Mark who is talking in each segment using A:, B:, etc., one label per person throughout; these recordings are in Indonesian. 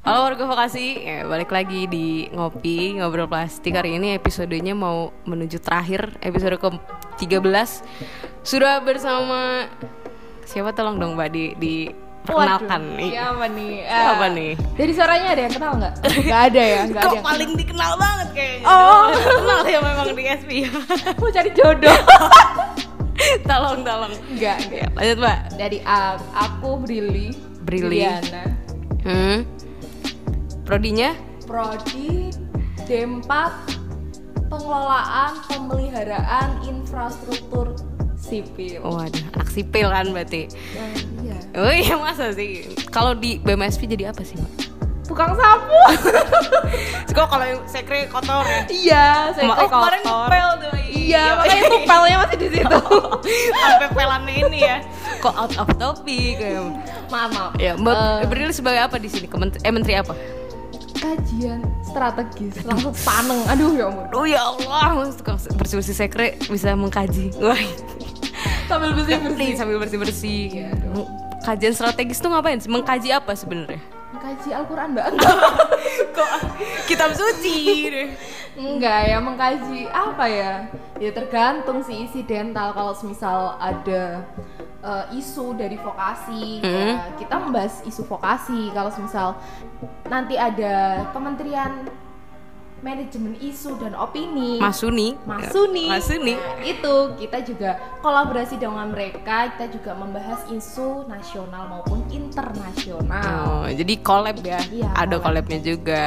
A: Halo warga vokasi, ya, balik lagi di ngopi ngobrol plastik hari ini episodenya mau menuju terakhir episode ke 13 sudah bersama siapa tolong dong mbak di diperkenalkan
B: Waduh, Siapa nih?
A: Siapa
B: Eh,
A: nih?
B: Dari suaranya ada yang kenal nggak? Nggak ada ya, nggak ada.
A: Kok
B: yang
A: paling dikenal banget kayaknya.
B: Oh.
A: kenal ya memang di SP.
B: kenal. Mau cari jodoh?
A: tolong tolong.
B: Nggak, nggak.
A: Ya, lanjut mbak.
B: Dari um, aku Brili.
A: Brili.
B: Briliana.
A: Hmm. Prodinya?
B: Prodi D4 Pengelolaan Pemeliharaan Infrastruktur Sipil.
A: Waduh, anak sipil kan berarti.
B: Eh, iya.
A: Oh iya masa sih. Kalau di BMSP jadi apa sih mbak?
B: Tukang sapu.
A: Kok kalau yang sekre kotor ya?
B: iya, saya
A: Ma- oh, kemarin
B: kotor.
A: ngepel tuh.
B: Iya, makanya tuh pelnya masih di situ.
A: sampai pelannya ini ya. Kok out of topic ya.
B: maaf, maaf.
A: Ya, Mbak
B: Eh,
A: Bril sebagai apa di sini? Kementeri, eh menteri apa?
B: kajian strategis langsung paneng. Aduh ya ampun.
A: Oh ya Allah, tukang bersih-bersih sekre bisa mengkaji. Wah.
B: Sambil
A: Nih, sambil bersih-bersih. ya.
B: Iya dong.
A: Kajian strategis tuh ngapain? sih? Mengkaji apa sebenarnya?
B: Mengkaji Al-Quran mbak?
A: Kok kitab suci?
B: Enggak ya, mengkaji apa ya? Ya tergantung sih isi dental kalau semisal ada eh, isu dari vokasi
A: Hmm.
B: ya, kita membahas isu vokasi kalau semisal nanti ada kementerian manajemen isu dan opini
A: Masuni.
B: Masuni.
A: Masuni.
B: Nah, itu kita juga kolaborasi dengan mereka, kita juga membahas isu nasional maupun internasional.
A: Oh, jadi collab ya.
B: Iya,
A: ada
B: collab.
A: collabnya juga.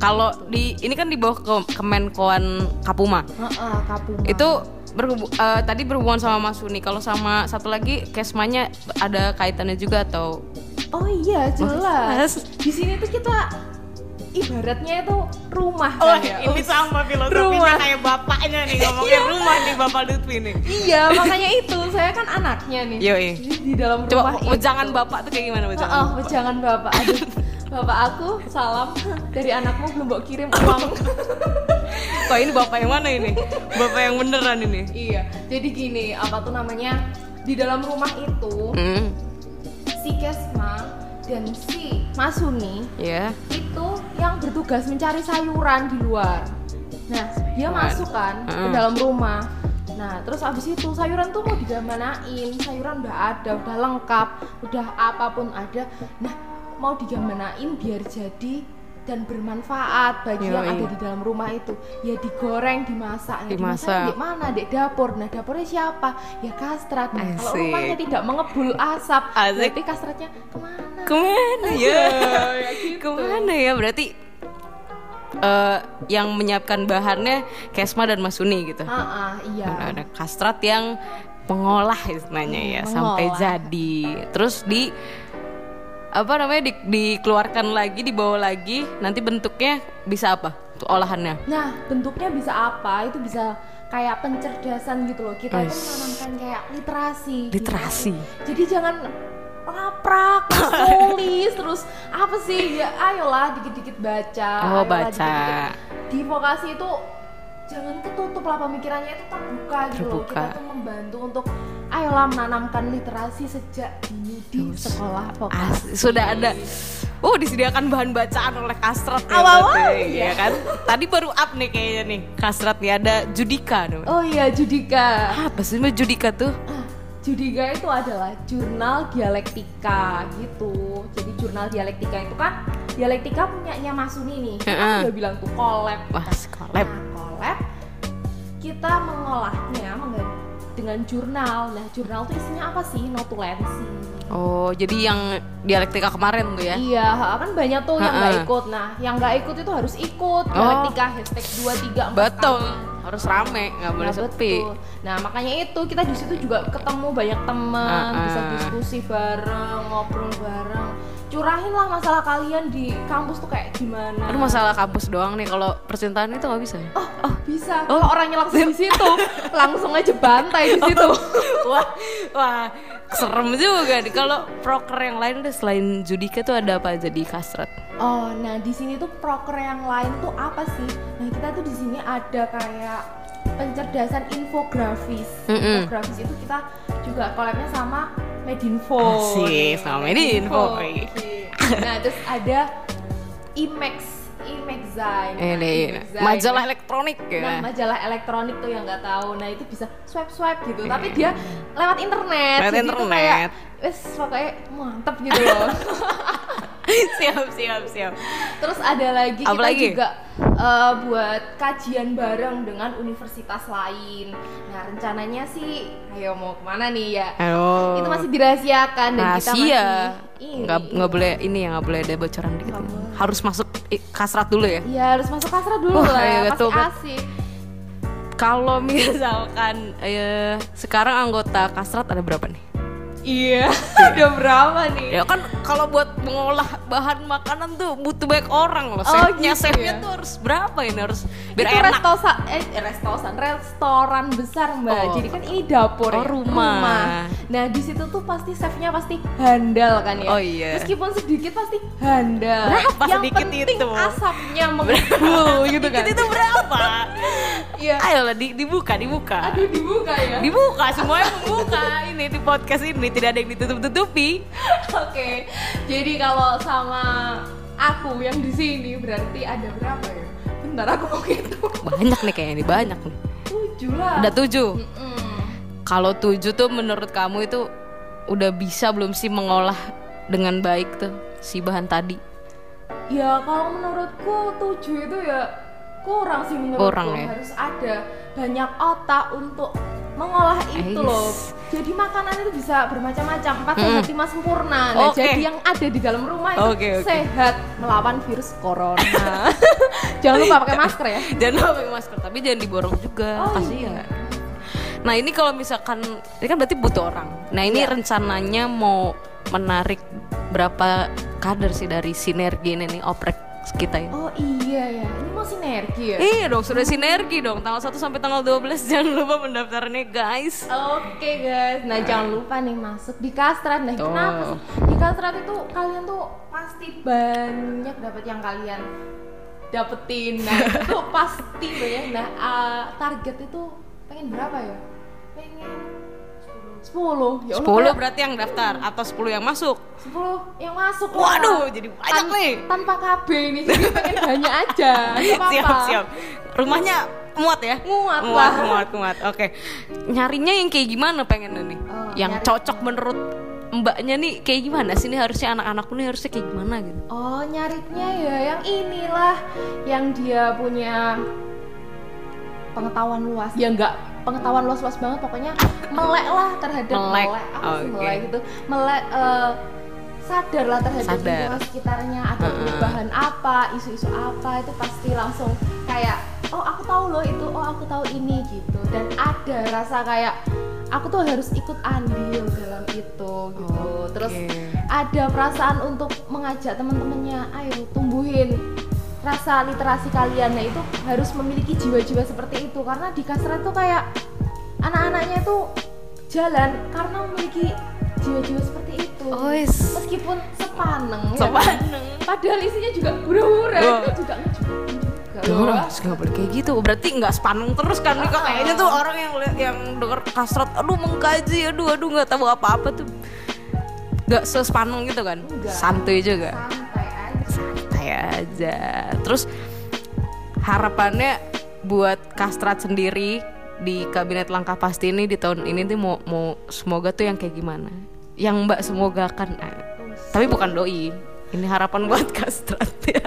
A: Kalau di ini kan di bawah ke, Kemenkoan Kapuma.
B: Heeh, Kapuma.
A: Itu berhubu- eh, tadi berhubungan sama Mas Uni. Kalau sama satu lagi kesmanya ada kaitannya juga atau
B: Oh iya,
A: Mas.
B: jelas. Di sini tuh kita ibaratnya itu rumah kan
A: Iya.
B: ya. Oh,
A: sama
B: Rumah.
A: kayak bapaknya nih ngomongin rumah nih Bapak Lutfi nih.
B: Iya, makanya itu. Saya kan anaknya nih.
A: Yoi.
B: Jadi Di dalam rumah. Oh,
A: Coba oh,
B: itu.
A: wejangan bapak tuh kayak gimana wejangan?
B: Heeh, jangan Bapak. Aduh. Bapak aku salam dari anakmu belum bawa kirim uang. oh.
A: Kok ini bapak yang mana ini? Bapak yang beneran ini.
B: iya. Jadi gini, apa tuh namanya? Di dalam rumah itu
A: Hmm,
B: si Kesma dan si Masuni
A: ya.
B: itu yang bertugas mencari sayuran di luar. Nah, dia
A: Cuman,
B: masuk kan ke
A: mm.
B: dalam rumah. Nah, terus abis itu sayuran tuh mau digamanain, sayuran udah ada, udah lengkap, udah apapun ada. Nah, mau digamanain biar jadi dan bermanfaat bagi yang
A: Yoi.
B: ada di dalam rumah itu. Ya digoreng, dimasak. Nah,
A: Dimasak.
B: di mana? Di dapur. Nah, dapurnya siapa? Ya kastrat. Nah, kalau
A: Asik.
B: rumahnya tidak mengebul asap,
A: Asik.
B: berarti kastratnya kemana?
A: Kemana ya?
B: Ya gitu.
A: Kemana ya? Berarti eh, yang menyiapkan bahannya Kesma dan Mas Uni gitu.
B: Ah, ah, iya.
A: Ada- ada kastrat yang mengolah istilahnya ya sampai
B: Hmm, Mengolah.
A: jadi terus di apa namanya di- dikeluarkan lagi dibawa lagi nanti bentuknya bisa apa tuh olahannya
B: Nah, bentuknya bisa apa? Itu bisa kayak pencerdasan gitu loh. Kita itu
A: Wes.
B: menanamkan kayak literasi. gitu.
A: literasi
B: Jadi jangan laprak, tulis, terus apa sih? Ya ayolah dikit-dikit baca.
A: oh
B: ayolah
A: baca
B: dikit-dikit. Di vokasi itu jangan ketutup lah pemikirannya itu terbuka gitu loh. Kita
A: Terbuka.
B: tuh membantu untuk ayolah menanamkan literasi sejak dini di
A: Ah,
B: sekolah vokasi.
A: sudah ada oh disediakan bahan bacaan oleh kastrat ya
B: Awal-awal,
A: berarti,
B: iya.
A: ya kan tadi baru up nih kayaknya nih kastrat nih ada Judika namanya.
B: Oh iya, Judika.
A: apa sih namanya Judika tuh
B: Ah, Judiga itu adalah jurnal dialektika gitu. Jadi jurnal dialektika itu kan dialektika punyanya Masuni nih. Kita
A: Heeh.
B: udah bilang tuh collab.
A: wah
B: Nah,
A: sekolah
B: collab kita mengolahnya menggan- dengan jurnal. Nah, jurnal itu isinya apa sih? Notulensi.
A: oh jadi yang dialektika kemarin tuh ya
B: Iya, ha, kan banyak tuh yang nggak
A: Heeh. Oh.
B: ikut. Nah, yang nggak ikut itu harus ikut. Dialektika hashtag 23
A: Betul, harus rame, nggak boleh
B: Nah,
A: sepi.
B: betul. Nah, makanya itu kita di situ juga ketemu banyak teman,
A: Ah, ah.
B: bisa diskusi bareng, ngobrol bareng. Curahinlah masalah kalian di kampus tuh kayak gimana.
A: Aduh masalah kampus doang nih kalau percintaan itu nggak bisa. ya?
B: Oh, oh, bisa.
A: Oh.
B: Kalau orangnya langsung di situ, langsung aja bantai di
A: Gitu.
B: situ.
A: wah, wah, serem juga nih. Kalau proker yang lain deh selain Judika tuh ada apa aja di Kastrat?
B: Oh, nah di sini tuh proker yang lain tuh apa sih? Nah, kita tuh di sini ada kayak pencerdasan infografis.
A: Mm-mm.
B: Infografis itu kita juga kolabnya sama Medinfo. Iya,
A: Asik, sama Medinfo.
B: Medinfo. Nah, terus ada IMAX, IMAXine.
A: Ini
B: IMAXine.
A: Eh, iya. majalah elektronik ya.
B: Nah, majalah elektronik tuh yang nggak tahu. Nah, itu bisa swipe-swipe gitu. Tapi dia lewat internet.
A: Lewat
B: Jadi itu
A: internet.
B: kayak wes pokoknya mantep gitu loh.
A: siap siap siap.
B: Terus ada lagi kita
A: Apalagi?
B: juga eh, buat kajian bareng dengan universitas lain. Nah, rencananya sih ayo mau kemana nih ya?
A: Halo.
B: Itu masih dirahasiakan dan kita masih
A: rahasia.
B: ini.
A: Nggak nggak boleh ini ya nggak boleh ada bocoran dikit.
B: Nggak boleh.
A: Harus masuk i- kasrat dulu ya.
B: Iya, harus masuk kasra dulu
A: Wah,
B: lah.
A: iya,
B: Pasti
A: betul, betul.
B: asik.
A: Kalau misalkan eh, sekarang anggota kasrat ada berapa nih?
B: Iya, udah berapa nih?
A: Ya kan kalau buat mengolah bahan makanan tuh butuh banyak orang loh.
B: Oh,
A: Chefnya,
B: gitu
A: chefnya
B: ya?
A: tuh harus berapa ini harus biar
B: itu
A: enak.
B: restosa- eh, restosan, restoran besar mbak.
A: Oh.
B: Jadi kan ini dapur
A: Oh,
B: ya,
A: rumah.
B: Nah di situ tuh pasti chefnya pasti handal kan ya.
A: Oh, iya.
B: Meskipun sedikit pasti handal.
A: Berapa
B: Yang
A: sedikit
B: penting
A: itu?
B: asapnya mengepul gitu kan.
A: Dikit itu berapa?
B: Iya.
A: Ayolah di- dibuka, dibuka.
B: Aduh dibuka ya.
A: Dibuka semuanya membuka ini di podcast ini tidak ada yang ditutup-tutupi.
B: Oke. Jadi kalau sama aku yang di sini berarti ada berapa ya? Bentar aku mau gitu.
A: Banyak nih kayaknya nih, banyak nih.
B: Tujuh lah.
A: Ada tujuh.
B: Mm-mm.
A: Kalau tujuh tuh menurut kamu itu udah bisa belum sih mengolah dengan baik tuh si bahan tadi?
B: Ya kalau menurutku tujuh itu ya kurang sih menurutku
A: Kurang ya?
B: harus ada banyak otak untuk mengolah
A: Ais.
B: itu loh. Jadi makanan itu bisa bermacam-macam, empat sehat lima sempurna. Nah,
A: Oke.
B: jadi yang ada di dalam rumah itu
A: Oke, oke.
B: sehat melawan virus corona. Jangan lupa pakai masker ya.
A: Jangan lupa pakai masker, tapi jangan diborong juga.
B: Oh,
A: kasihan.
B: iya.
A: Nah ini kalau misalkan ini kan berarti butuh orang. Nah ini rencananya mau menarik berapa kader sih dari sinergi ini nih oprek kita ini?
B: Oh iya ya, ini mau sinergi ya.
A: Iya dong sudah sinergi dong tanggal 1 sampai tanggal 12 jangan lupa mendaftarnya guys.
B: Oke guys, nah jangan lupa nih masuk di kastrat Nah
A: Tuh.
B: kenapa sih? Di kastrat itu kalian tuh pasti banyak dapat yang kalian dapetin Nah itu tuh pasti loh ya Nah ah, target itu pengen berapa ya? Pengen 10 Ya
A: 10
B: Allah, kayak
A: berarti yang daftar atau 10 yang masuk.
B: 10 yang masuk lah.
A: Waduh jadi banyak
B: Tan-
A: nih.
B: Tanpa KB nih, jadi pengen banyak aja nggak apa-apa.
A: Siap siap. Rumahnya muat ya?
B: Muat
A: muat
B: lah.
A: muat muat. Oke. Nyarinya yang kayak gimana pengen nih?
B: Oh,
A: yang
B: nyari-
A: cocok menurut mbaknya nih kayak gimana sih nih harusnya anak-anakku nih harusnya kayak gimana gitu.
B: Oh nyariknya ya yang inilah yang dia punya pengetahuan luas ya nggak pengetahuan luas-luas banget pokoknya melek lah terhadap
A: Melek,
B: apa sih
A: oke.
B: melek gitu melek eh, sadar lah terhadap
A: Sadar.
B: lingkungan sekitarnya ada
A: Heeh.
B: perubahan apa isu-isu apa itu pasti langsung kayak oh aku tahu loh itu oh aku tahu ini gitu dan ada rasa kayak aku tuh harus ikut andil dalam itu gitu terus
A: Oke.
B: ada perasaan untuk mengajak teman-temannya ayo tumbuhin rasa literasi kalian nah itu harus memiliki jiwa-jiwa seperti itu karena di kasrat tuh kayak anak-anaknya itu jalan karena memiliki jiwa-jiwa seperti itu
A: Ois.
B: meskipun sepaneng
A: Oh,
B: ya.
A: Sepaneng.
B: padahal isinya juga hura-hura
A: Wah.
B: itu juga juga
A: Loh,
B: loh.
A: Mas, nggak boleh kayak gitu. Berarti nggak sepaneng terus kan Nih, kok kayaknya tuh orang yang lihat yang denger kasrat, aduh mengkaji, aduh aduh nggak tahu apa-apa tuh. Nggak sespaneng gitu kan?
B: Nggak.
A: Santuy juga.
B: santai aja
A: Santai aja. Terus harapannya buat kastrat sendiri di kabinet langkah pasti ini di tahun ini tuh mau mau semoga tuh yang kayak gimana? Yang Mbak semoga kan. Tapi bukan doi. Ini harapan buat kastrat ya.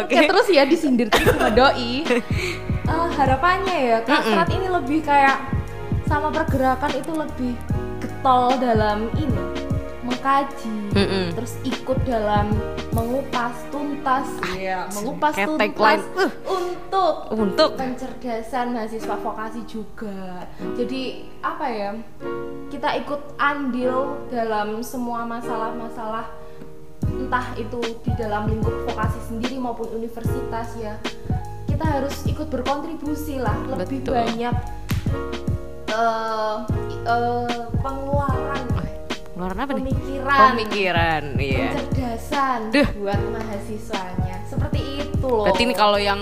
A: Oke.
B: Oke terus ya disindir terus sama doi. Eh, harapannya ya kasrat ini lebih kayak sama pergerakan itu lebih getol dalam ini mengkaji,
A: Mm-mm.
B: terus ikut dalam mengupas tuntas, ya, mengupas
A: kayak
B: tuntas
A: tagline. Uh.
B: untuk
A: Untuk
B: pencerdasan mahasiswa vokasi juga. Jadi apa ya? Kita ikut andil dalam semua masalah-masalah entah itu di dalam lingkup vokasi sendiri maupun universitas ya. Kita harus ikut berkontribusi lah lebih
A: Betul.
B: banyak eh, i- eh, pengeluaran
A: Ngeluarin apa nih?
B: pemikiran
A: Pemikiran, iya.
B: pencerdasan
A: Duh.
B: buat mahasiswanya. Seperti itu loh.
A: Berarti ini kalau yang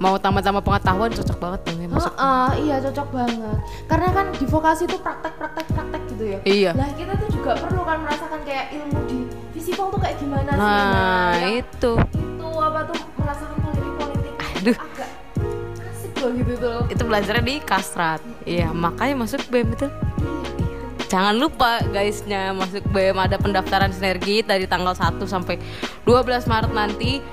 A: mau tambah-tambah pengetahuan cocok banget dong ya masuk.
B: Heeh, iya cocok banget. Karena kan di vokasi itu praktek-praktek-praktek gitu ya.
A: Iya.
B: Nah kita tuh juga perlu kan merasakan kayak ilmu di visipol tuh kayak gimana sih.
A: Nah,
B: ya,
A: itu.
B: itu apa tuh merasakan politik-politik Ah,
A: Aduh.
B: agak asik loh gitu tuh
A: itu belajarnya di kastrat iya makanya masuk BEM itu jangan lupa guysnya masuk BEM ada pendaftaran sinergi dari tanggal 1 sampai 12 Maret nanti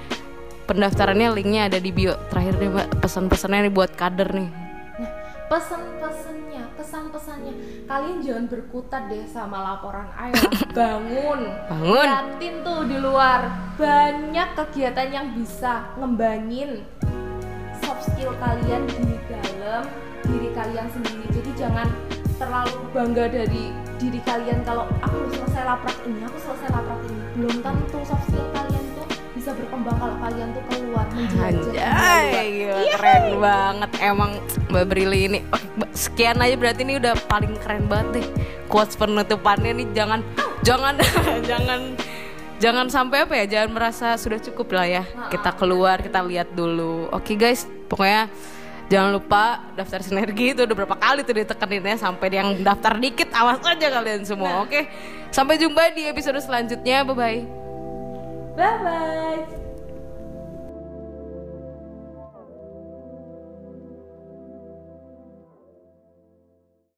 A: pendaftarannya linknya ada di bio terakhir deh mbak pesan-pesannya nih buat kader nih
B: Nah, pesan-pesannya, kesan-pesannya, kalian jangan berkutat deh sama laporan Ayla. Bangun.
A: Bangun.
B: Liatin tuh di luar banyak kegiatan yang bisa ngembangin soft skill kalian di dalam diri kalian sendiri. Jadi jangan terlalu bangga dari diri kalian kalau aku selesai laprak ini, aku selesai laprak ini. Belum tentu soft skill kalian tuh bisa berkembang kalau kalian tuh keluar menjelajah
A: Anjay,
B: keluar.
A: gila, keren banget emang Mbak Brili ini. Oke, Mbak, Sekian aja berarti ini udah paling keren banget deh. Quotes penutupannya nih jangan jangan jangan jangan sampai apa ya? Jangan merasa sudah cukup lah ya. Kita keluar, kita lihat dulu. Oke guys, pokoknya jangan lupa daftar sinergi itu udah berapa kali tuh ditekeninnya sampai yang daftar dikit awas aja kalian semua. Oke. Sampai jumpa di episode selanjutnya. Bye bye.
B: Bye bye.